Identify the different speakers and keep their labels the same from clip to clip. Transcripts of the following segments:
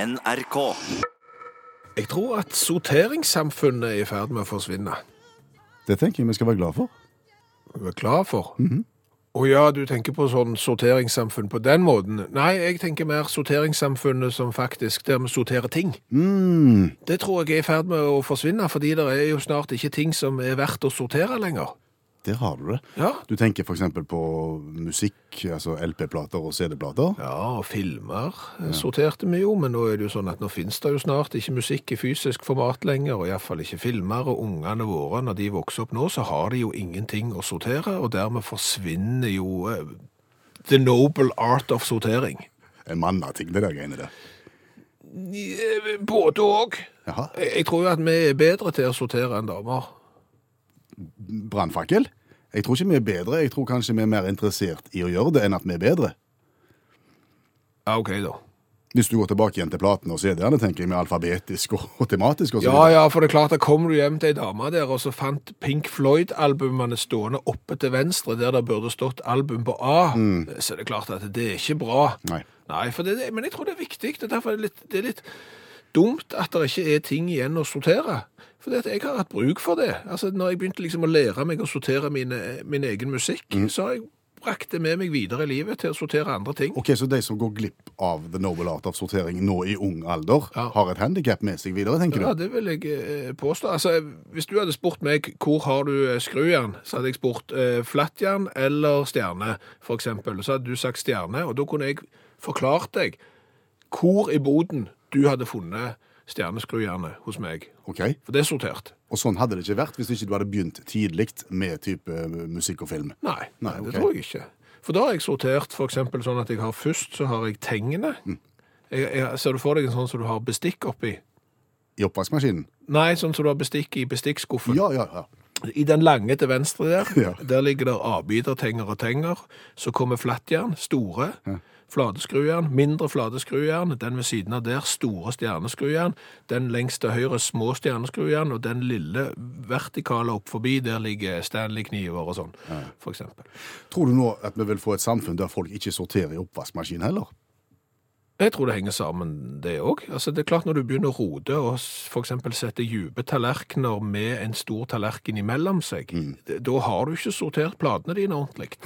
Speaker 1: NRK.
Speaker 2: Jeg tror at sorteringssamfunnet er i ferd med å forsvinne.
Speaker 3: Det tenker jeg vi skal være glad for.
Speaker 2: Jeg er klar for. Og ja, du tenker på sånn sorteringssamfunn på den måten. Nei, jeg tenker mer sorteringssamfunnet som faktisk der vi sorterer ting.
Speaker 3: Mm.
Speaker 2: Det tror jeg er i ferd med å forsvinne, fordi det er jo snart ikke ting som er verdt å sortere lenger.
Speaker 3: Der har du det.
Speaker 2: Ja.
Speaker 3: Du tenker f.eks. på musikk, altså LP-plater og CD-plater.
Speaker 2: Ja, og filmer eh, sorterte vi jo, men nå er det jo sånn at nå finnes det jo snart ikke musikk i fysisk format lenger, og iallfall ikke filmer, og ungene våre, når de vokser opp nå, så har de jo ingenting å sortere, og dermed forsvinner jo eh, the noble art of sortering.
Speaker 3: En mannating, det der greiene der.
Speaker 2: Eh, Både òg.
Speaker 3: Jaha.
Speaker 2: Jeg jeg tror jo at vi er bedre til å sortere enn damer.
Speaker 3: Brannfakkel? Jeg tror ikke vi er bedre. Jeg tror kanskje vi er mer interessert i å gjøre det enn at vi er bedre.
Speaker 2: Ja, OK, da.
Speaker 3: Hvis du går tilbake igjen til platene og CD-ene, tenker jeg vi er alfabetisk og, og tematisk. Og så
Speaker 2: Ja,
Speaker 3: videre.
Speaker 2: ja, for det er klart, da kommer du hjem til ei dame der, og så fant Pink Floyd-albumene stående oppe til venstre, der det burde stått album på A. Så det er klart at det er ikke bra.
Speaker 3: Mm. Nei.
Speaker 2: Nei, for det, det- men jeg tror det er viktig. Det er derfor det er litt, det er litt dumt at det ikke er ting igjen å sortere. For det at jeg har hatt bruk for det. Altså, når jeg begynte liksom å lære meg å sortere mine, min egen musikk,
Speaker 3: Mm.
Speaker 2: så har jeg brakt det med meg videre i livet til å sortere andre ting.
Speaker 3: Ok, Så de som går glipp av the noble art av sortering nå i ung alder,
Speaker 2: Ja.
Speaker 3: har et handikap med seg videre, tenker
Speaker 2: Ja,
Speaker 3: du?
Speaker 2: det vil jeg eh, påstå. Altså, hvis du hadde spurt meg hvor har du eh, skrujern, så hadde jeg spurt eh, flattjern eller stjerne, for eksempel. Så hadde du sagt stjerne, og da kunne jeg forklart deg hvor i boden du hadde funnet stjerneskrujerne hos meg.
Speaker 3: Ok,
Speaker 2: For det er sortert.
Speaker 3: Og sånn hadde det ikke vært hvis ikke du hadde begynt tidlig med type eh, musikk og film.
Speaker 2: Nei,
Speaker 3: Nei,
Speaker 2: det
Speaker 3: ok.
Speaker 2: tror jeg ikke. For da har jeg sortert for eksempel sånn at jeg har først så har jeg tengene.
Speaker 3: Mm.
Speaker 2: Jeg, jeg, ser du for deg en sånn som du har bestikk oppi?
Speaker 3: I oppvaskmaskinen.
Speaker 2: Nei, sånn som du har bestikk i bestikkskuffen.
Speaker 3: Ja, ja, ja.
Speaker 2: I den lange til venstre der,
Speaker 3: Ja.
Speaker 2: der ligger der avbiter, tenger og tenger. Så kommer flattjern, store. Fladeskrujern, mindre fladeskrujern. Den ved siden av der, store stjerneskrujern. Den lengst til høyre, små stjerneskrujern. Og den lille vertikale opp forbi, der ligger Stanley-kniver og sånn, for eksempel.
Speaker 3: Tror du nå at vi vil få et samfunn der folk ikke sorterer i oppvaskmaskin heller?
Speaker 2: Jeg tror det henger sammen, det òg. Altså, det er klart når du begynner å rote og s- for eksempel sette dype tallerkener med en stor tallerken imellom seg,
Speaker 3: Mm.
Speaker 2: d- da har du ikke sortert platene dine ordentlig.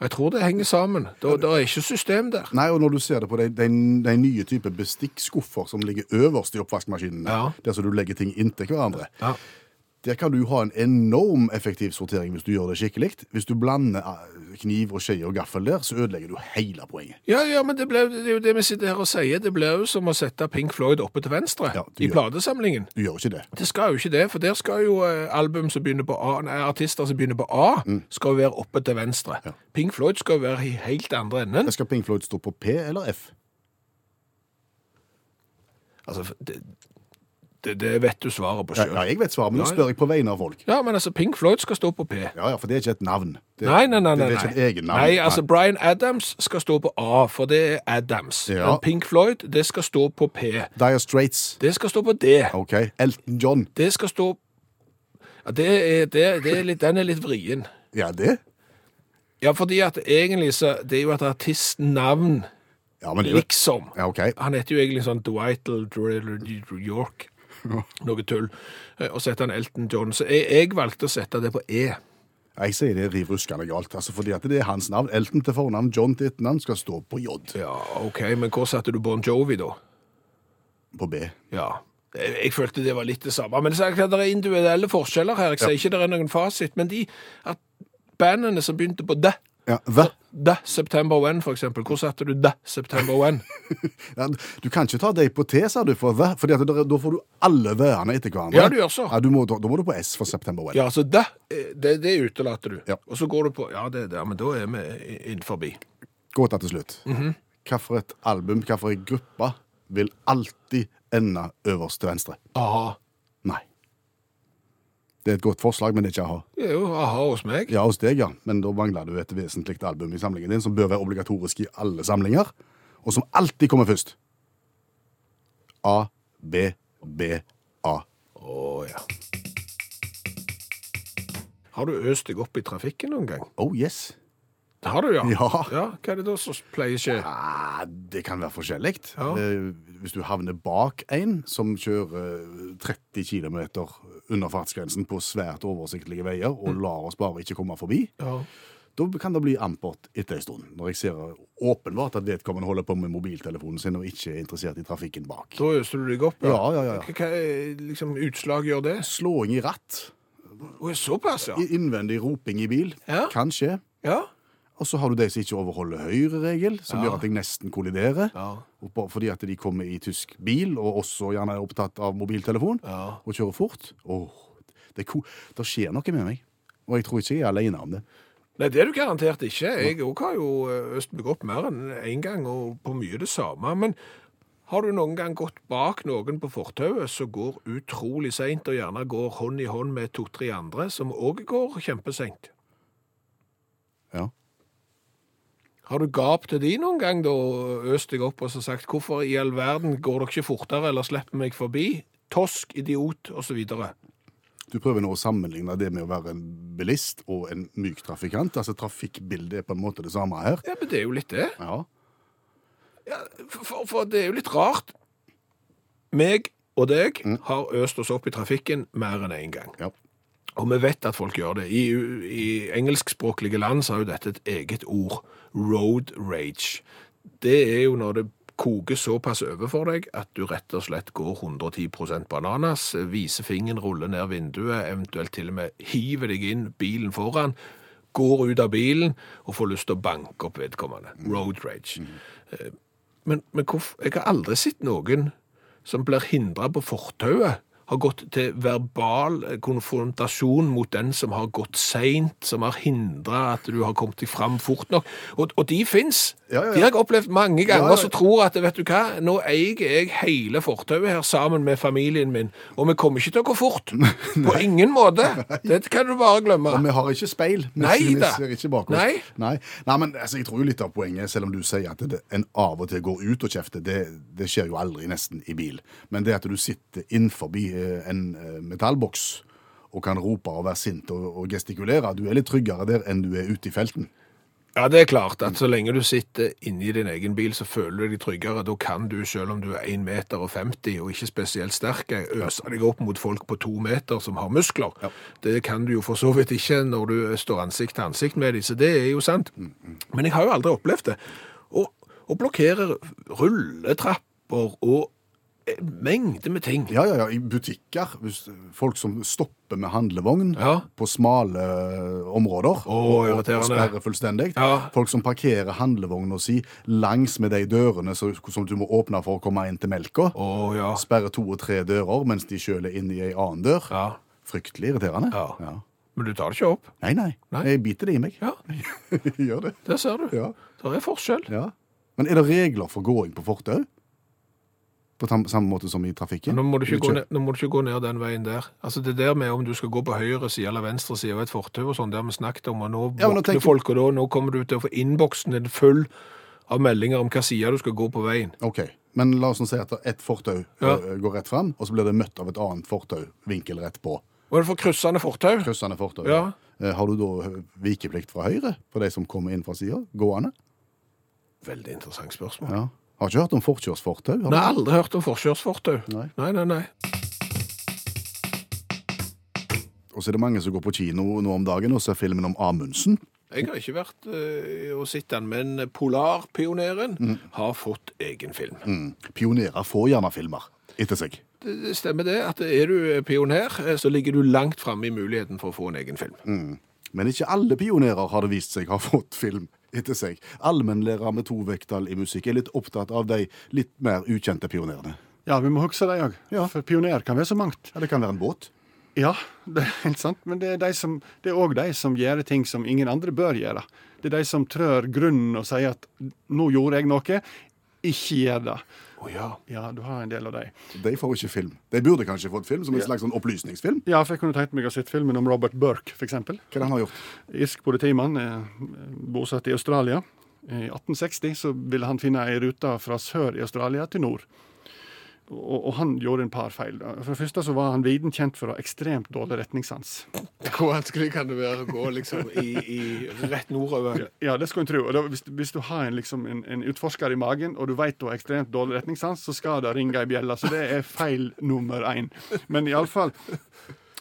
Speaker 2: Jeg tror det henger sammen. Da, da er ikke system der.
Speaker 3: Nei, og når du ser det på de, de, de nye type bestikkskuffer som ligger øverst i oppvaskmaskinen,
Speaker 2: Ja.
Speaker 3: der som du legger ting inntil hverandre,
Speaker 2: Ja.
Speaker 3: der kan du ha en enorm effektiv sortering hvis du gjør det skikkelig. Hvis du blander eh, kniv og skje og gaffel der, så ødelegger du hele poenget.
Speaker 2: Ja, ja, men det, ble, det er jo det vi sitter her og sier. Det blir jo som å sette Pink Floyd oppe til venstre
Speaker 3: Ja, det
Speaker 2: i
Speaker 3: gjør-
Speaker 2: platesamlingen.
Speaker 3: Du gjør ikke det.
Speaker 2: Det skal jo ikke det, for der skal jo eh, album som begynner på A, nei, artister som begynner på A,
Speaker 3: Mm.
Speaker 2: skal jo være oppe til venstre. Pink Floyd skal jo være i helt andre enden.
Speaker 3: Skal Pink Floyd stå på P eller F?
Speaker 2: Altså, det, det, det vet du svaret på
Speaker 3: Ja,
Speaker 2: sjøl.
Speaker 3: ja, jeg vet svaret, men nå
Speaker 2: Ja, ja.
Speaker 3: spør jeg på vegne av folk.
Speaker 2: Ja, men altså, Pink Floyd skal stå på P.
Speaker 3: Ja, ja, for det er ikke et navn. Det,
Speaker 2: Nei, nei, nei. nei,
Speaker 3: det, det er ikke
Speaker 2: nei.
Speaker 3: et eget navn.
Speaker 2: nei altså, Bryan Adams skal stå på A, for det er Adams.
Speaker 3: Ja.
Speaker 2: Men Pink Floyd, det skal stå på P.
Speaker 3: Dire Straits.
Speaker 2: Det skal stå på D.
Speaker 3: Ok. Elton John.
Speaker 2: Det skal stå ja, det er, det, det er litt, Den er litt vrien.
Speaker 3: Ja, det?
Speaker 2: Ja, fordi at egentlig så Det er jo et artistnavn,
Speaker 3: Ja, men det er jo-
Speaker 2: liksom.
Speaker 3: Ja, ok.
Speaker 2: Han heter jo egentlig sånn Dwight Driller York. Noe tull. Eh, Og så heter han Elton John. Så jeg, jeg valgte å sette det på E.
Speaker 3: Jeg sier det er riv ruskende galt, altså fordi at det er hans navn. Elton til fornavn, John til etternavn skal stå på J.
Speaker 2: Ja, OK, men hvor satte du Bon Jovi, da?
Speaker 3: På B.
Speaker 2: Ja. Jeg, jeg følte det var litt det samme. Men det er, klart det er individuelle forskjeller her. Jeg sier ikke det er noen fasit, men de at bandene som begynte på D,
Speaker 3: Ja, the.
Speaker 2: D September When, for eksempel, hvor satte du D September When?
Speaker 3: Ja, du kan ikke ta deg på T, sa du, for the, fordi at det, da får du alle the-ene etter hverandre.
Speaker 2: Ja, du gjør så.
Speaker 3: Ja, du må, da, da må du på S for September Well.
Speaker 2: Ja, altså D, eh, det, det utelater du.
Speaker 3: Ja.
Speaker 2: Og så går du på Ja, det, det, men da er vi innenfor.
Speaker 3: Gåta til slutt.
Speaker 2: Mhm.
Speaker 3: Hva for et album, hva for en gruppe vil alltid ende øverst til venstre?
Speaker 2: A-ha.
Speaker 3: Nei. Det er et godt forslag, men det er ikke a-ha.
Speaker 2: Det er jo a-ha hos meg.
Speaker 3: Ja, hos deg, ja. Men da mangler du et vesentlig album i samlingen din, som bør være obligatorisk i alle samlinger, og som alltid kommer først. A, B, B, A.
Speaker 2: Å ja. Har du øst deg opp i trafikken noen gang?
Speaker 3: Oh, yes.
Speaker 2: Har du, ja?
Speaker 3: Ja.
Speaker 2: Hva er det da som pleier å skje?
Speaker 3: Ah, det kan være forskjellig.
Speaker 2: Ja.
Speaker 3: Eh, hvis du havner bak en som kjører 30 km under fartsgrensen på svært oversiktlige veier, og lar oss bare ikke komme forbi,
Speaker 2: Ja.
Speaker 3: da kan det bli ampert etter en stund. Når jeg ser åpenbart at vedkommende holder på med mobiltelefonen sin og ikke er interessert i trafikken bak.
Speaker 2: Da øste du deg opp?
Speaker 3: Ja, ja, ja.
Speaker 2: Hva- Hva liksom, utslag gjør det?
Speaker 3: Slåing i ratt,
Speaker 2: Å, Såpass, ja.
Speaker 3: i- innvendig roping i bil,
Speaker 2: Ja.
Speaker 3: kan skje.
Speaker 2: Ja.
Speaker 3: Og så har du de som ikke overholder høyreregel, som
Speaker 2: Ja.
Speaker 3: gjør at jeg nesten kolliderer.
Speaker 2: Ja.
Speaker 3: Og bare Fordi at de kommer i tysk bil, og også gjerne er opptatt av mobiltelefon,
Speaker 2: Ja.
Speaker 3: og kjører fort. Åh, det, er ko- det skjer noe med meg. Og jeg tror ikke jeg er alene om det.
Speaker 2: Nei, det er du garantert ikke. Jeg òg har jo eh, øst meg opp mer enn én gang, og på mye det samme. Men har du noen gang gått bak noen på fortauet som går utrolig seint, og gjerne går hånd i hånd med to-tre andre som òg går kjempeseint?
Speaker 3: Ja.
Speaker 2: Har du gapt til de noen gang, da, og øst deg opp og så sagt 'Hvorfor i all verden går dere ikke fortere, eller slipper meg forbi?' Tosk, idiot, osv.
Speaker 3: Du prøver nå å sammenligne det med å være en bilist og en myk trafikant. Altså trafikkbildet er på en måte det samme her.
Speaker 2: Ja, men det er jo litt det.
Speaker 3: Ja.
Speaker 2: Ja, for, for- for det er jo litt rart. Meg og deg har øst oss opp i trafikken mer enn én gang.
Speaker 3: ja.
Speaker 2: Og vi vet at folk gjør det. I, i engelskspråklige land så har jo dette et eget ord. Road rage. Det er jo når det koker såpass over for deg at du rett og slett går 110 bananas, viser fingeren, ruller ned vinduet, eventuelt til og med hiver deg inn bilen foran, går ut av bilen og får lyst til å banke opp vedkommende. Road rage. Eh, Men, men hvorf- jeg har aldri sett noen som blir hindra på fortauet, har gått til verbal konfrontasjon mot den som har gått seint, som har hindra at du har kommet deg fram fort nok. Og, og de fins.
Speaker 3: Ja, ja, ja.
Speaker 2: De har jeg opplevd mange ganger
Speaker 3: Ja, ja.
Speaker 2: som tror at vet du hva, nå eier jeg hele fortauet her sammen med familien min, og vi kommer ikke til å gå fort. På ingen måte. Det kan du bare glemme.
Speaker 3: Og vi har ikke speil. Vi-
Speaker 2: Nei
Speaker 3: vi
Speaker 2: da.
Speaker 3: ser ikke bak oss.
Speaker 2: Nei.
Speaker 3: Nei. Nei, men altså, jeg tror jo litt av poenget, selv om du sier at det, en av og til går ut og kjefter, det, det skjer jo aldri nesten i bil. Men det at du sitter innenfor eh, en eh, metallboks og kan rope og være sint og, og gestikulere, du er litt tryggere der enn du er ute i felten.
Speaker 2: Ja, det er klart at så lenge du sitter inni din egen bil, så føler du deg tryggere. Da kan du, selv om du er 1 meter og 50 og ikke spesielt sterk, eh, øse deg opp mot folk på to meter som har muskler. Det kan du jo for så vidt ikke når du står ansikt til ansikt med dem, så det er jo sant. Men jeg har jo aldri opplevd det. Og, og blokkerer rulletrapper og eh, mengder med ting.
Speaker 3: Ja, ja, ja, i butikker, hvis folk som stopper med handlevogn
Speaker 2: Ja.
Speaker 3: på smale eh, områder og- og
Speaker 2: irriterende.
Speaker 3: sperrer fullstendig.
Speaker 2: Ja.
Speaker 3: Folk som parkerer handlevogna si langs med de dørene så, som du må åpne for å komme inn til melka.
Speaker 2: Å ja.
Speaker 3: Sperrer to og tre dører mens de sjøl er inne i ei annen dør.
Speaker 2: ja.
Speaker 3: Fryktelig irriterende.
Speaker 2: Ja. Men du tar det ikke opp.
Speaker 3: Nei, nei,
Speaker 2: Nei.
Speaker 3: Jeg biter det i meg.
Speaker 2: Ja,
Speaker 3: Gjør det.
Speaker 2: det ser du.
Speaker 3: Ja.
Speaker 2: Det er forskjell.
Speaker 3: ja. Men er det regler for gåing på fortau? På tam- samme måte som i trafikken?
Speaker 2: Nå må, du ikke
Speaker 3: Kjø-
Speaker 2: gå ned, nå må du ikke gå ned den veien der. Altså Det der med om du skal gå på høyre side eller venstre side av et fortau og sånn, det har vi snakket om, og nå
Speaker 3: Ja, men nå
Speaker 2: våkner
Speaker 3: tenker-
Speaker 2: folk, og da, nå kommer du til å få innboksen din full av meldinger om hva side du skal gå på veien.
Speaker 3: Ok, men la oss nå si at ett fortau
Speaker 2: Ja.
Speaker 3: ø, går rett fram, og så blir det møtt av et annet fortau vinkelrett på.
Speaker 2: Og det får kryssende fortau.
Speaker 3: Kryssende fortau.
Speaker 2: Ja.
Speaker 3: Eh, Har du da ø, vikeplikt fra høyre for de som kommer inn fra sida? Gående?
Speaker 2: Veldig interessant spørsmål.
Speaker 3: Ja. Har ikke hørt om forkjørsfortau.
Speaker 2: Nei,
Speaker 3: har du?
Speaker 2: jeg har aldri hørt om forkjørsfortau.
Speaker 3: Nei.
Speaker 2: nei, nei. nei.
Speaker 3: Og så er det mange som går på kino nå om dagen og ser filmen om Amundsen.
Speaker 2: Jeg har ikke vært eh, og sett den, men Polarpioneren har fått egen film.
Speaker 3: Mm. Pionerer får gjerne filmer etter seg.
Speaker 2: Det det stemmer det, at er du pioner, eh, så ligger du langt framme i muligheten for å få en egen film.
Speaker 3: Mm. Men ikke alle pionerer har det vist seg har fått film etter seg. Allmennlærer med to vekttall i musikk er litt opptatt av de litt mer ukjente pionerene.
Speaker 1: Ja, vi må huske det òg.
Speaker 3: Ja.
Speaker 1: For pioner kan være så mangt.
Speaker 3: Ja, det kan være en båt.
Speaker 1: Ja, det er helt sant, men det er de som, det er òg de som gjør ting som ingen andre bør gjøre. Det er de som trør grunnen og sier at 'nå gjorde jeg noe', ikke gjør det.
Speaker 2: Å ja.
Speaker 1: Ja, du har en del av de.
Speaker 3: De får ikke film. De burde kanskje fått film, som en slags sånn opplysningsfilm.
Speaker 1: Ja, for jeg kunne tenkt meg å sett filmen om Robert Burke, f.eks.
Speaker 3: Hva er det han har gjort?
Speaker 1: Irsk politimann, eh, bosatt i Australia. I 1860 så ville han finne ei rute fra sør i Australia til nord. Og, og han gjorde en par feil. da. For det første så var han viden kjent for å ha ekstremt dårlig retningssans.
Speaker 2: Hvor vanskelig kan det være å gå liksom i, i rett nordover?
Speaker 1: Ja, det skulle en tro. Og da, hvis, hvis du har en, liksom, en, en utforsker i magen, og du vet du har ekstremt dårlig retningssans, så skal det ringe ei bjelle. Så det er feil nummer én. Men iallfall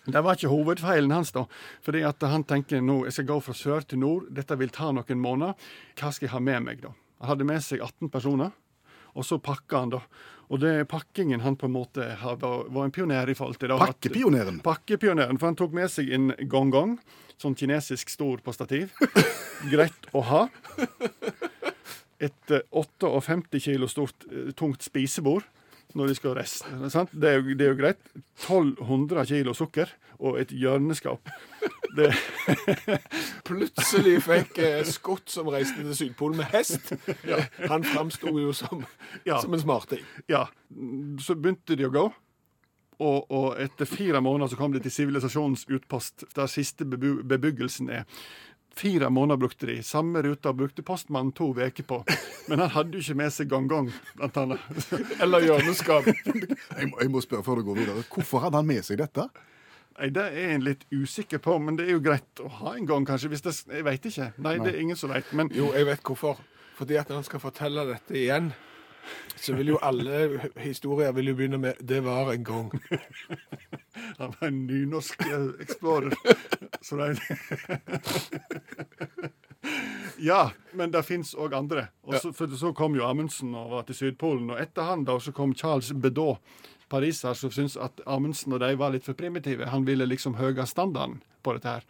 Speaker 1: det var ikke hovedfeilen hans, da. Fordi at han tenker nå, jeg skal gå fra sør til nord, dette vil ta noen måneder. Hva skal jeg ha med meg, da? Han hadde med seg 18 personer, og så pakka han, da. Og det er pakkingen han på en måte har- var var en pioner i forhold til. da. At-
Speaker 3: Pakkepioneren?
Speaker 1: Pakkepioneren, for han tok med seg en gong-gong, sånn kinesisk stor på stativ. Greit å ha. Et eh, 58 kilo stort, eh, tungt spisebord når de skal rest. Sant? Det, er jo, det er jo greit. 1200 kilo sukker og et hjørneskap. Det,
Speaker 2: Plutselig fikk eh, Scott, som reiste til Sydpolen med hest, han framsto jo som,
Speaker 1: Ja.
Speaker 2: som en smarting.
Speaker 1: ja. Så begynte de å gå. Og, og etter fire måneder så kom de til sivilisasjonens utpost, der siste bebu bebyggelsen er. Fire måneder brukte de. Samme ruta brukte postmannen to uker på. Men han hadde jo ikke med seg gong-gong, blant annet.
Speaker 2: Eller hjørneskap.
Speaker 3: Jeg må, jeg må spørre før du går videre. Hvorfor hadde han med seg dette?
Speaker 1: Nei, Det er en litt usikker på, men det er jo greit å ha en gang, kanskje. hvis det, Jeg veit ikke. Nei, det er ingen som veit. Men
Speaker 2: Jo, jeg vet hvorfor. Fordi at når han skal fortelle dette igjen, så vil jo alle historier vil jo begynne med 'det var en gang'.
Speaker 1: han var en nynorsk eh, explorer. Så det er- Ja, men det fins òg andre. Og så, for så kom jo Amundsen og var til Sydpolen. Og etter han da, så kom Charles Bedaud, pariser, som syntes at Amundsen og de var litt for primitive. Han ville liksom høye standarden på dette her.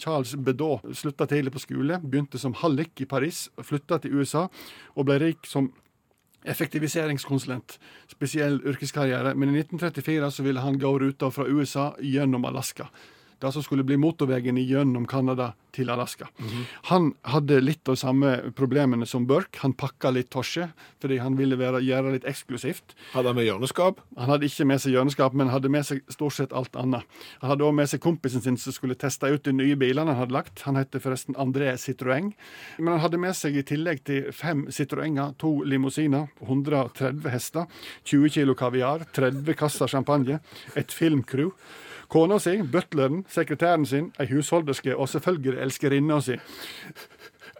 Speaker 1: Charles Bedaud slutta tidlig på skole, begynte som hallik i Paris, flytta til USA og ble rik som effektiviseringskonsulent. Spesiell yrkeskarriere, men i 1934 så ville han gå ruta fra USA gjennom Alaska. Det som skulle bli motorveien gjennom Canada til Alaska. Han hadde litt av samme problemene som Burke. Han pakka litt torske fordi han ville være, gjøre litt eksklusivt.
Speaker 2: Hadde han med hjørneskap?
Speaker 1: Han hadde ikke med seg hjørneskap, men hadde med seg stort sett alt annet. Han hadde også med seg kompisen sin som skulle teste ut de nye bilene han hadde lagt. Han heter forresten André Citroën. Men han hadde med seg i tillegg til fem Citroënger, to limousiner, 130 hester, 20 kilo kaviar, 30 kasser champagne, et filmcrew. Kona si, butleren, sekretæren sin, ei husholderske og selvfølgelig elskerinna si.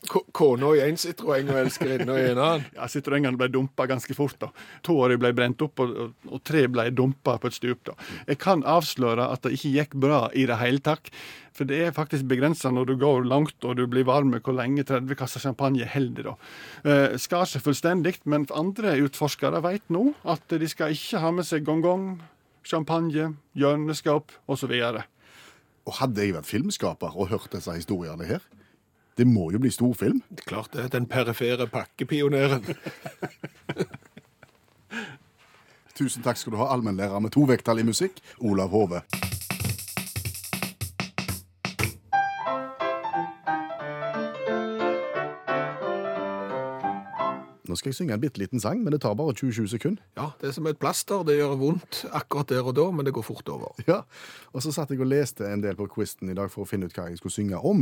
Speaker 2: K- Kona i én sitroeng og elskerinna i en annen.
Speaker 1: Ja, Citroëngene ble dumpa ganske fort. da. To av dem ble brent opp, og, og, og tre ble dumpa på et stup. da. Jeg kan avsløre at det ikke gikk bra i det hele tatt. For det er faktisk begrensa når du går langt og du blir varm, hvor lenge 30 kasser champagne holder. da. Eh, skar seg fullstendig, men andre utforskere vet nå at de skal ikke ha med seg gong-gong, champagne, hjørneskap osv.
Speaker 3: Og hadde jeg vært filmskaper og hørt disse historiene her, det må jo bli storfilm.
Speaker 2: Klart det. Den perifere pakkepioneren.
Speaker 3: Tusen takk skal du ha, allmennlærer med to vekttall i musikk, Olav Hove. Nå skal jeg synge en bitte liten sang, men det tar bare 20-20 sekunder.
Speaker 2: Ja, det er som et plaster. Det gjør vondt akkurat der og da, men det går fort over.
Speaker 3: Ja, Og så satt jeg og leste en del på quizen i dag for å finne ut hva jeg skulle synge om.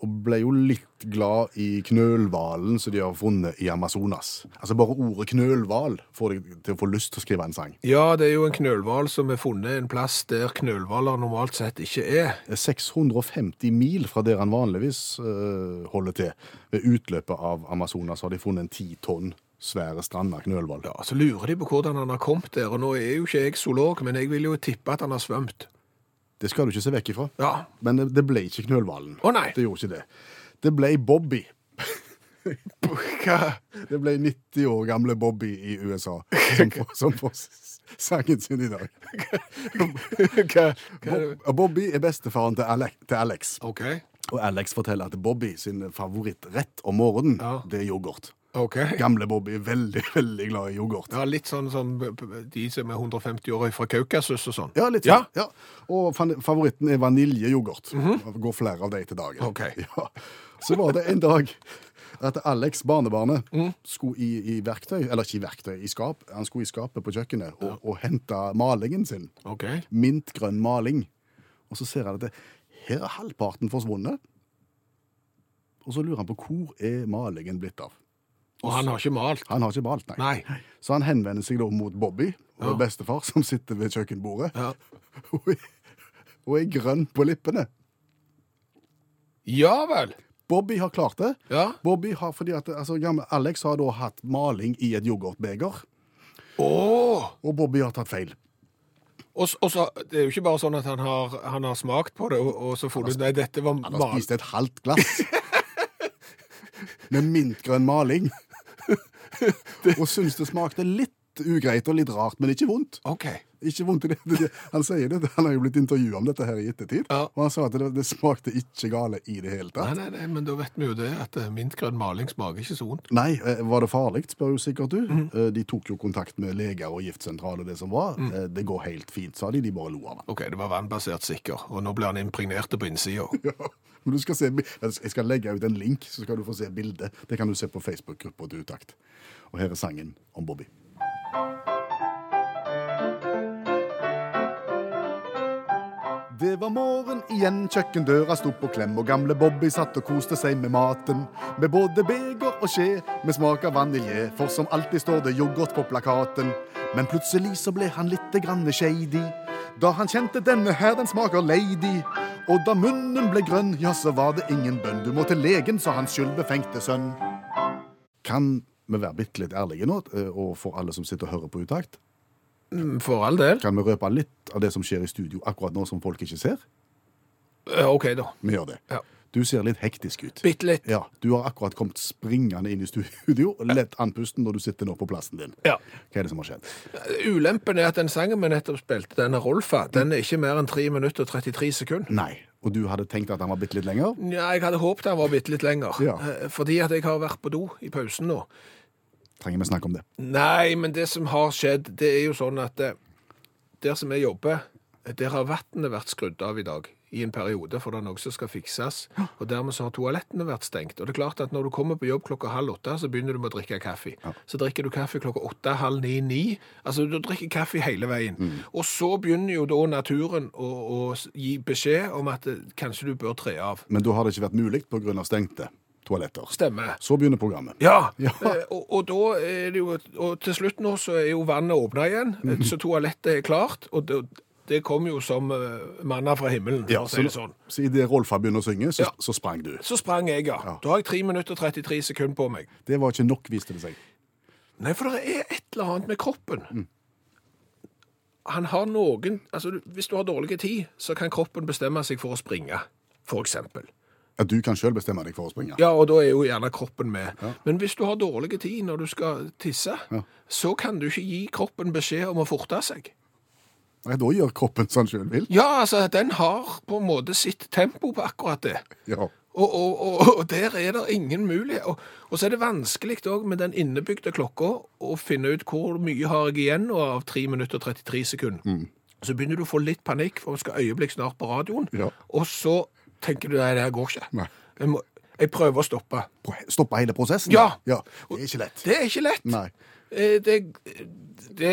Speaker 3: Og ble jo litt glad i knølhvalen som de har funnet i Amazonas. Altså Bare ordet knølhval får deg til å få lyst til å skrive en sang.
Speaker 2: Ja, det er jo en knølhval som er funnet en plass der knølhvaler normalt sett ikke er.
Speaker 3: 650 mil fra der han vanligvis eh, holder til. Ved utløpet av Amazonas har de funnet en ti tonn svære strand av knølhval.
Speaker 2: Ja, Så lurer de på hvordan han har kommet der. Og nå er jo ikke jeg zoolog, men jeg vil jo tippe at han har svømt.
Speaker 3: Det skal du ikke se vekk ifra.
Speaker 2: Ja.
Speaker 3: Men det, det ble ikke knølhvalen.
Speaker 2: Å, nei.
Speaker 3: Det gjorde ikke det. Det ble Bobby.
Speaker 2: Hva?
Speaker 3: Det ble 90 år gamle Bobby i USA som, får- som får s- sangen sin i dag.
Speaker 2: Hva? Hva?
Speaker 3: Bob, eh, Bobby er bestefaren til Alex, til Alex.
Speaker 2: OK.
Speaker 3: Og Alex forteller at Bobby sin favorittrett om morgenen,
Speaker 2: Ja.
Speaker 3: det er yoghurt.
Speaker 2: ok.
Speaker 3: Gamle Bobby er veldig, veldig glad i yoghurt.
Speaker 2: Ja, Litt sånn som de som er 150 år fra Kaukasus og sånn.
Speaker 3: Ja, litt
Speaker 2: Ja.
Speaker 3: sånn. Ja. Og fan- favoritten er vaniljeyoghurt. Går flere av de til dagen.
Speaker 2: Mhm. Ok.
Speaker 3: Ja. Så var det en dag at Alex, barnebarnet,
Speaker 2: Mhm.
Speaker 3: skulle i, i verktøy, eller ikke i verktøy, i skap, han skulle i skapet på kjøkkenet og, og hente malingen sin.
Speaker 2: OK.
Speaker 3: Mintgrønn maling. Og så ser han at det, her er halvparten forsvunnet. Og så lurer han på hvor er malingen blitt av.
Speaker 2: Og han har ikke malt.
Speaker 3: Han har ikke malt, nei.
Speaker 2: Nei.
Speaker 3: Så han henvender seg da mot Bobby, vår bestefar, som sitter ved kjøkkenbordet,
Speaker 2: Ja.
Speaker 3: og, er, og er grønn på lippene.
Speaker 2: ja vel.
Speaker 3: Bobby har klart det.
Speaker 2: Ja.
Speaker 3: Bobby har, fordi at, altså, gamle Alex har da hatt maling i et yoghurtbeger,
Speaker 2: Åh!
Speaker 3: og Bobby har tatt feil.
Speaker 2: Og, s- og så, det er jo ikke bare sånn at han har, han har smakt på det, og, og så får du Nei, dette var
Speaker 3: Han har
Speaker 2: mal...
Speaker 3: spist et halvt glass med mintgrønn maling. Og syns det smakte litt ugreit og litt rart, men ikke vondt.
Speaker 2: OK.
Speaker 3: Ikke vondt i det. det, det. Han sier det, han har jo blitt intervjua om dette her i ettertid,
Speaker 2: Ja.
Speaker 3: og han sa at det, det smakte ikke gale i det hele
Speaker 2: Nei,
Speaker 3: tatt.
Speaker 2: nei, nei, men da vet vi jo det, at eh, mintgrønn maling smaker ikke så vondt.
Speaker 3: Nei, eh, var det farlig, spør jo sikkert du. Eh, De tok jo kontakt med leger og giftsentral og det som var. Eh, Det går helt fint, sa de. De bare lo av han.
Speaker 2: OK, det var vannbasert sikker, og nå blir han impregnert på innsida.
Speaker 3: Ja. Men du skal se, bi- jeg skal legge ut en link, så skal du få se bildet. Det kan du se på Facebook-gruppa til Utakt. Og her er sangen om Bobby. Det var morgen igjen, kjøkkendøra sto på klem, og gamle Bobby satt og koste seg med maten. Med både beger og skje, med smak av vanilje, for som alltid står det yoghurt på plakaten. Men plutselig så ble han lite grann shady, da han kjente denne her, den smaker lady. Og da munnen ble grønn, ja, så var det ingen bønn. Du må til legen, sa hans skyldbefengte sønn. Kan vi være bitte litt ærlige nå, eh, og for alle som sitter og hører på utakt?
Speaker 2: Mm, For all del.
Speaker 3: Kan vi røpe litt av det som skjer i studio akkurat nå, som folk ikke ser?
Speaker 2: Eh, OK, da.
Speaker 3: Vi gjør det.
Speaker 2: Ja.
Speaker 3: Du ser litt hektisk ut.
Speaker 2: Bitte litt.
Speaker 3: Ja, Du har akkurat kommet springende inn i studio, lett andpusten når du sitter nå på plassen din.
Speaker 2: Ja.
Speaker 3: Hva er det som har skjedd?
Speaker 2: Ulempen er at den sangen vi nettopp spilte, denne Rolfa, den er ikke mer enn 3 minutter og 33 sekunder.
Speaker 3: Nei. Og du hadde tenkt at han var bitte litt lenger?
Speaker 2: Ja, jeg hadde håpet den var bitte litt lenger,
Speaker 3: Ja.
Speaker 2: Eh, fordi at jeg har vært på do i pausen nå.
Speaker 3: Trenger vi snakke om det?
Speaker 2: Nei, men det som har skjedd, det er jo sånn at eh, der som jeg jobber, eh, der har vannet vært skrudd av i dag i en periode, for det er noe som skal fikses. Og dermed så har toalettene vært stengt. Og det er klart at når du kommer på jobb klokka halv åtte, så begynner du med å drikke kaffe. Så drikker du kaffe klokka åtte, halv ni, ni. Altså du drikker kaffe hele veien. Og så begynner jo da naturen å, å s- gi beskjed om at eh, kanskje du bør tre av.
Speaker 3: Men da har det ikke vært mulig pga. stengte toaletter.
Speaker 2: Stemmer.
Speaker 3: Så begynner programmet.
Speaker 2: Ja,
Speaker 3: Ja.
Speaker 2: Eh, og, og da er det jo Og til slutt nå så er jo vannet åpna igjen, eh, så toalettet er klart. Og det, det kom jo som eh, manna fra himmelen, for å si det sånn.
Speaker 3: så idet Rolf har begynt å synge, så,
Speaker 2: Ja.
Speaker 3: så sprang du.
Speaker 2: Så sprang jeg, ja. Da har jeg 3 minutter og 33 sekunder på meg.
Speaker 3: Det var ikke nok, viste det seg.
Speaker 2: Nei, for det er et eller annet med kroppen. Han har noen Altså, du- hvis du har dårlig tid, så kan kroppen bestemme seg for å springe, for eksempel.
Speaker 3: At du kan sjøl bestemme deg for å springe.
Speaker 2: Ja, og da er jo gjerne kroppen med. Men hvis du har dårlig tid når du skal tisse, så kan du ikke gi kroppen beskjed om å forte seg.
Speaker 3: Nei, da gjør kroppen som han sjøl vil.
Speaker 2: Ja, altså, den har på en måte sitt tempo på akkurat det.
Speaker 3: Ja.
Speaker 2: Og, og, og, og der er det ingen mulighet. Og, og så er det vanskelig òg med den innebygde klokka å finne ut hvor mye har jeg igjen og av 3 minutter og 33 sekunder.
Speaker 3: Mm.
Speaker 2: Så begynner du å få litt panikk, for vi skal øyeblikk snart på radioen.
Speaker 3: Ja.
Speaker 2: Og så tenker du nei, det her går ikke.
Speaker 3: Nei.
Speaker 2: Jeg, må, jeg prøver å stoppe.
Speaker 3: Pro- Stoppe hele prosessen?
Speaker 2: Ja.
Speaker 3: Det er ikke lett.
Speaker 2: Det er ikke lett.
Speaker 3: Nei.
Speaker 2: Eh, Det, det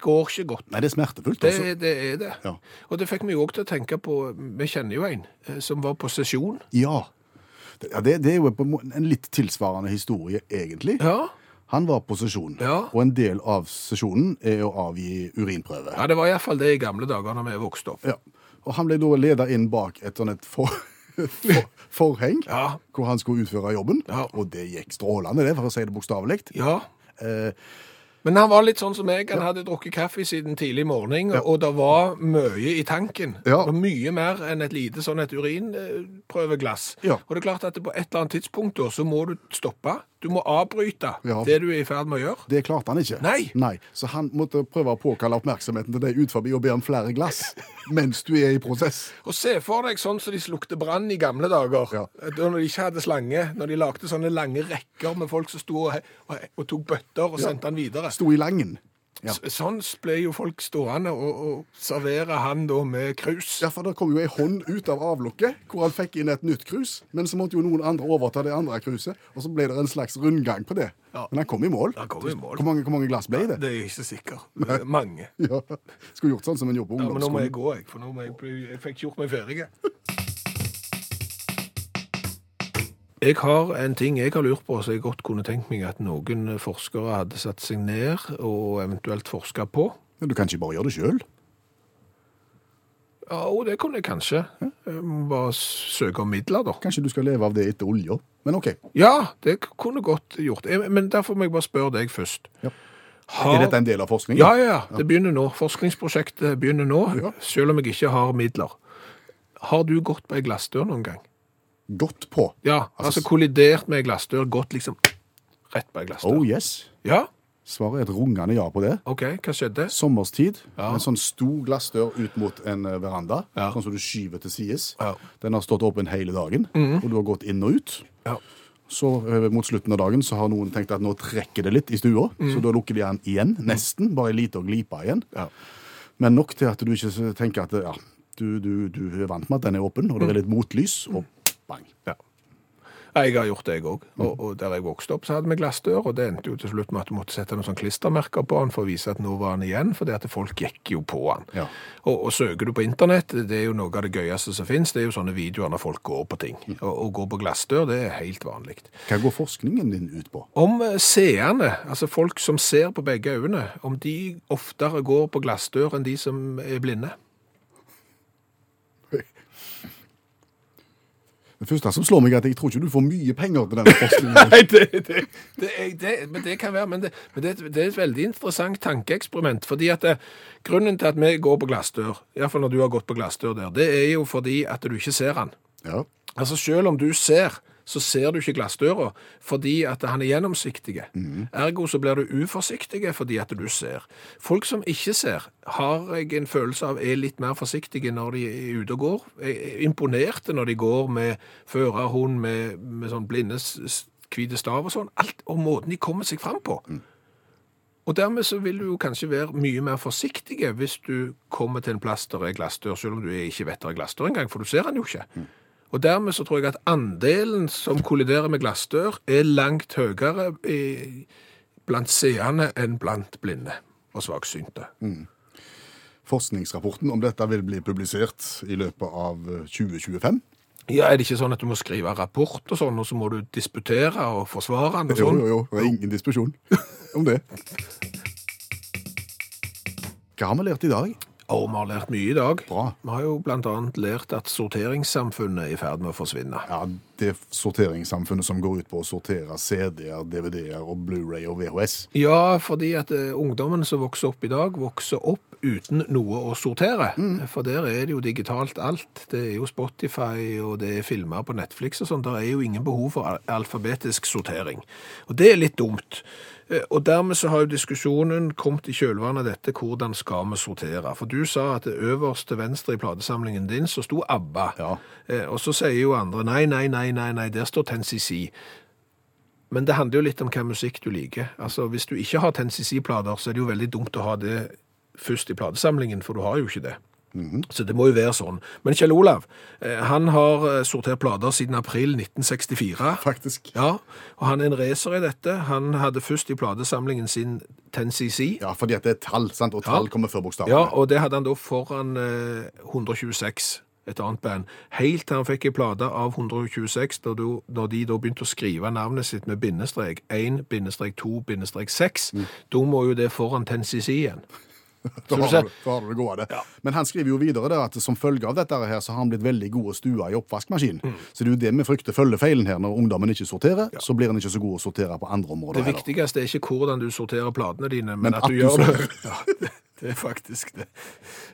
Speaker 2: går ikke godt.
Speaker 3: Nei, det er smertefullt.
Speaker 2: Det,
Speaker 3: Altså.
Speaker 2: det er det.
Speaker 3: Ja.
Speaker 2: Og det fikk meg òg til å tenke på Vi kjenner jo en eh, som var på sesjon.
Speaker 3: Ja. Det, ja, det, det er jo på en må- en litt tilsvarende historie, egentlig.
Speaker 2: Ja.
Speaker 3: Han var på sesjon,
Speaker 2: Ja.
Speaker 3: og en del av sesjonen er å avgi urinprøve.
Speaker 2: ja, det var iallfall det i gamle dager når vi vokste opp.
Speaker 3: Ja. Og han ble da leda inn bak et sånn et for, for, forheng,
Speaker 2: Ja.
Speaker 3: hvor han skulle utføre jobben.
Speaker 2: Ja.
Speaker 3: Og det gikk strålende, det, for å si det bokstavelig.
Speaker 2: Ja.
Speaker 3: Eh,
Speaker 2: Men han var litt sånn som meg. Han hadde drukket kaffe siden tidlig morgen, og det var mye i tanken.
Speaker 3: Ja.
Speaker 2: Det var Mye mer enn et lite sånn et urinprøveglass.
Speaker 3: Ja.
Speaker 2: Og det er klart at på et eller annet tidspunkt da, så må du stoppe. Du må avbryte
Speaker 3: Ja.
Speaker 2: det du er i ferd med å gjøre.
Speaker 3: det klarte han ikke.
Speaker 2: Nei.
Speaker 3: Så han måtte prøve å påkalle oppmerksomheten til deg ut forbi og be om flere glass mens du er i prosess.
Speaker 2: Og se for deg sånn som de slukte brann i gamle dager. Eh,
Speaker 3: Ja.
Speaker 2: Da når de ikke hadde slange. Når de lagde sånne lange rekker med folk som sto og, og, og tok bøtter og sendte den videre.
Speaker 3: Sto i langen. Ja.
Speaker 2: S- Sånn ble jo folk stående og, og servere han da med krus.
Speaker 3: Ja, for Det kom jo ei hånd ut av avlukket, hvor han fikk inn et nytt krus. Men så måtte jo noen andre overta det andre kruset, og så ble det en slags rundgang på det.
Speaker 2: Ja.
Speaker 3: Men han kom i mål.
Speaker 2: Han kom i mål.
Speaker 3: Hvor mange, hvor mange glass ble det?
Speaker 2: Det er jeg ikke sikker. Det er Mange.
Speaker 3: Ja. Skulle gjort sånn som en gjorde på
Speaker 2: Ja, men nå må
Speaker 3: ungdomsskolen.
Speaker 2: jeg gå, jeg, for nå må jeg, bli- jeg fikk ikke gjort meg ferdig. Jeg har en ting jeg har lurt på, så jeg godt kunne tenkt meg at noen forskere hadde satt seg ned og eventuelt forska på.
Speaker 3: Du kan ikke bare gjøre det sjøl.
Speaker 2: Ja, og det kunne jeg kanskje. Jeg må Bare søke om midler, da.
Speaker 3: Kanskje du skal leve av det etter olja. Men OK.
Speaker 2: Ja, det kunne godt gjort. Jeg- Men derfor må jeg bare spørre deg først.
Speaker 3: Ja.
Speaker 2: Har...
Speaker 3: Er dette en del av forskningen?
Speaker 2: Ja, ja, ja. Det begynner nå. Forskningsprosjektet begynner nå,
Speaker 3: Ja.
Speaker 2: selv om jeg ikke har midler. Har du gått på ei glassdør noen gang?
Speaker 3: Godt på.
Speaker 2: Ja, altså, kollidert med ei glassdør, gått liksom rett på ei glassdør.
Speaker 3: Oh yes.
Speaker 2: Ja,
Speaker 3: Svaret er et rungende ja på det.
Speaker 2: OK, hva skjedde?
Speaker 3: Sommerstid.
Speaker 2: Ja.
Speaker 3: En sånn stor glassdør ut mot en eh, veranda,
Speaker 2: Ja.
Speaker 3: sånn som du skyver til sides.
Speaker 2: Ja. Mhm.
Speaker 3: Den har stått åpen hele dagen, og du har gått inn og ut.
Speaker 2: Ja.
Speaker 3: Så eh, mot slutten av dagen så har noen tenkt at nå trekker det litt i stua, så da lukker de den igjen, nesten, bare en liten glipe igjen.
Speaker 2: Mm. Ja.
Speaker 3: Men nok til at du ikke s- tenker at ja, du, du, du er vant med at den er åpen, og det
Speaker 2: Mm.
Speaker 3: er litt motlys, og bang.
Speaker 2: Ja. Ja, Jeg har gjort det, jeg òg. Og, og der jeg vokste opp, så hadde vi glassdør. Og det endte jo til slutt med at du måtte sette noen sånn klistremerker på den for å vise at nå var den igjen, fordi at folk gikk jo på den.
Speaker 3: Ja.
Speaker 2: Og, og søker du på internett, det er jo noe av det gøyeste som fins, det er jo sånne videoer når folk går på ting. Og, og går på glassdør, det er helt vanlig.
Speaker 3: Hva går forskningen din ut på?
Speaker 2: Om eh, seerne, altså folk som ser på begge øynene, om de oftere går på glassdør enn de som er blinde.
Speaker 3: Det første som slår meg er at jeg tror ikke du får mye penger til denne forskningen.
Speaker 2: Nei, det, det, det, er- det, men det kan være, men, det, men det, det er et veldig interessant tankeeksperiment. fordi at eh, Grunnen til at vi går på glassdør, iallfall når du har gått på glassdør der, det er jo fordi at du ikke ser han.
Speaker 3: Ja.
Speaker 2: Altså Selv om du ser, så ser du ikke glassdøra fordi at han er gjennomsiktig. Ergo så blir du uforsiktig fordi at du ser. Folk som ikke ser, har jeg en følelse av er litt mer forsiktige når de er ute og går. Er- er Imponerte når de går med førerhund, med, med sånn blinde s- s- hvite stav og sånn. Alt og måten de kommer seg fram på. Og dermed så vil du jo kanskje være mye mer forsiktig hvis du kommer til en plass der er glassdør, selv om du ikke vet der er glassdør engang, for du ser den jo ikke. Og dermed så tror jeg at andelen som kolliderer med glassdør, er langt høyere i, blant seende enn blant blinde og svaksynte.
Speaker 3: Forskningsrapporten om dette vil bli publisert i løpet av eh, 2025.
Speaker 2: Ja, Er det ikke sånn at du må skrive rapport og sånn, og så må du disputere og forsvare den og
Speaker 3: Jo,
Speaker 2: sånn?
Speaker 3: jo, jo. Det er ingen diskusjon om det. Hva har vi lært i dag?
Speaker 2: Og vi har lært mye i dag.
Speaker 3: Bra.
Speaker 2: Vi har jo blant annet lært at sorteringssamfunnet er i ferd med å forsvinne.
Speaker 3: Ja, Det sorteringssamfunnet som går ut på å sortere CD-er, DVD-er og Blu-ray og VHS.
Speaker 2: Ja, fordi at eh, ungdommen som vokser opp i dag, vokser opp uten noe å sortere. For der er det jo digitalt alt. Det er jo Spotify, og det er filmer på Netflix og sånn. Der er jo ingen behov for al- alfabetisk sortering. Og det er litt dumt. Eh, Og dermed så har jo diskusjonen kommet i kjølvannet av dette, hvordan skal vi sortere? For du sa at det øverst til venstre i platesamlingen din så sto ABBA.
Speaker 3: Ja.
Speaker 2: Eh, Og så sier jo andre nei, nei, nei, nei, nei, der står Tennessee. Men det handler jo litt om hva musikk du liker. Altså, Hvis du ikke har Tennessee-plater, så er det jo veldig dumt å ha det først i platesamlingen, for du har jo ikke det. Så det må jo være sånn. Men Kjell Olav, eh, han har eh, sortert plater siden april 1964.
Speaker 3: Faktisk.
Speaker 2: Ja, og han er en racer i dette. Han hadde først i platesamlingen sin Tennessee.
Speaker 3: Ja, fordi at det er tall, sant? og tall kommer før bokstavene.
Speaker 2: Ja, og det hadde han da foran eh, 126, et annet band. Helt til han fikk ei plate av 126, da du, når de da begynte å skrive navnet sitt med bindestrek 1, bindestrek 2, bindestrek 6. Da må jo det foran Tennessee igjen.
Speaker 3: Da
Speaker 2: Så du
Speaker 3: har,
Speaker 2: ser-
Speaker 3: du, da har du det gående. Men han skriver jo videre der at som følge av dette her, så har han blitt veldig god å stue i oppvaskmaskinen.
Speaker 2: Mm.
Speaker 3: Så det er jo det vi frykter følger feilen her. Når ungdommen ikke sorterer, så blir han ikke så god å sortere på andre områder
Speaker 2: Det viktigste er ikke hvordan du sorterer platene dine, men, at, du, gjør det. Ja, det. Det er faktisk det.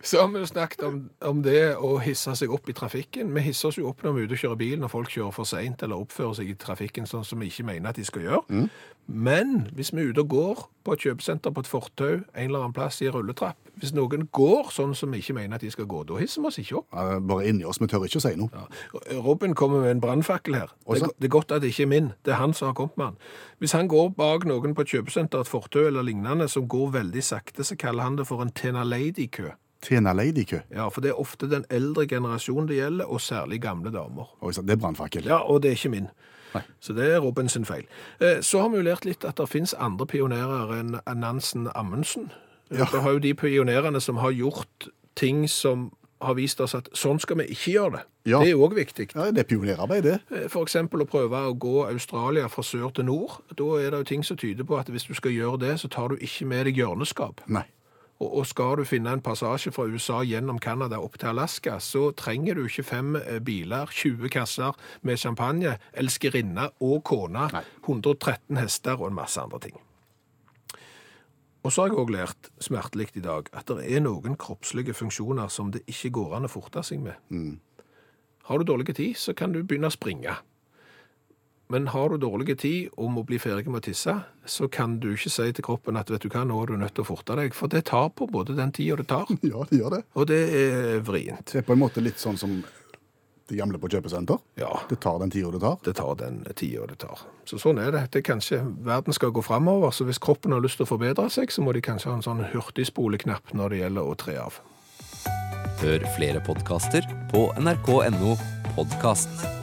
Speaker 2: Så har vi jo snakket om, om det å hisse seg opp i trafikken. Vi hisser oss jo opp når vi er ute og kjører bil, når folk kjører for seint eller oppfører seg i trafikken sånn som vi ikke mener at de skal gjøre. Men hvis vi er ute og går på et kjøpesenter, på et fortau, en eller annen plass i en rulletrapp Hvis noen går sånn som vi ikke mener at de skal gå, da hisser vi oss ikke opp.
Speaker 3: heller. Eh, Bare inni oss, vi tør ikke å si noe.
Speaker 2: Ja. Robin kommer med en brannfakkel her.
Speaker 3: Oi,
Speaker 2: Det, er go-
Speaker 3: sant.
Speaker 2: det er godt at det ikke er min. Det er han som har kommet med den. Hvis han går bak noen på et kjøpesenter, et fortau eller lignende, som går veldig sakte, så kaller han det for en Tena Lady-kø.
Speaker 3: Tena lady-kø.
Speaker 2: Ja, for det er ofte den eldre generasjonen det gjelder, og særlig gamle damer.
Speaker 3: Oi, sant, Det er brannfakkel.
Speaker 2: Ja, og det er ikke min. Så det er Robin sin feil. Eh, Så har vi jo lært litt at det finnes andre pionerer enn Nansen Amundsen. Eh,
Speaker 3: Ja.
Speaker 2: Det har jo de pionerene som har gjort ting som har vist oss at sånn skal vi ikke gjøre det.
Speaker 3: Ja.
Speaker 2: Det er òg viktig.
Speaker 3: Ja, det er pionerarbeid, det.
Speaker 2: F.eks. å prøve å gå Australia fra sør til nord. Da er det jo ting som tyder på at hvis du skal gjøre det, så tar du ikke med deg hjørneskap.
Speaker 3: Nei.
Speaker 2: Og, og skal du finne en passasje fra USA gjennom Canada opp til Alaska, så trenger du ikke fem eh, biler, 20 kasser med champagne, elskerinne og kone,
Speaker 3: Nei.
Speaker 2: 113 hester og en masse andre ting. Og så har jeg òg lært smertelig i dag at det er noen kroppslige funksjoner som det ikke går an å forte seg med. Har du dårlig tid, så kan du begynne å springe. Men har du dårlig tid og må bli ferdig med å tisse, så kan du ikke si til kroppen at vet du hva, nå er du nødt til å forte deg, for det tar på både den tida det tar,
Speaker 3: Ja, det gjør det.
Speaker 2: og det er vrient.
Speaker 3: Det er på en måte litt sånn som det gamle på kjøpesenter.
Speaker 2: Ja,
Speaker 3: Det tar den tida det tar.
Speaker 2: det tar den tida det tar. Så sånn er det. det er kanskje, verden skal gå framover, så hvis kroppen har lyst til å forbedre seg, så må de kanskje ha en sånn hurtigspoleknapp når det gjelder å tre av.
Speaker 4: Hør flere podkaster på nrk.no podkast.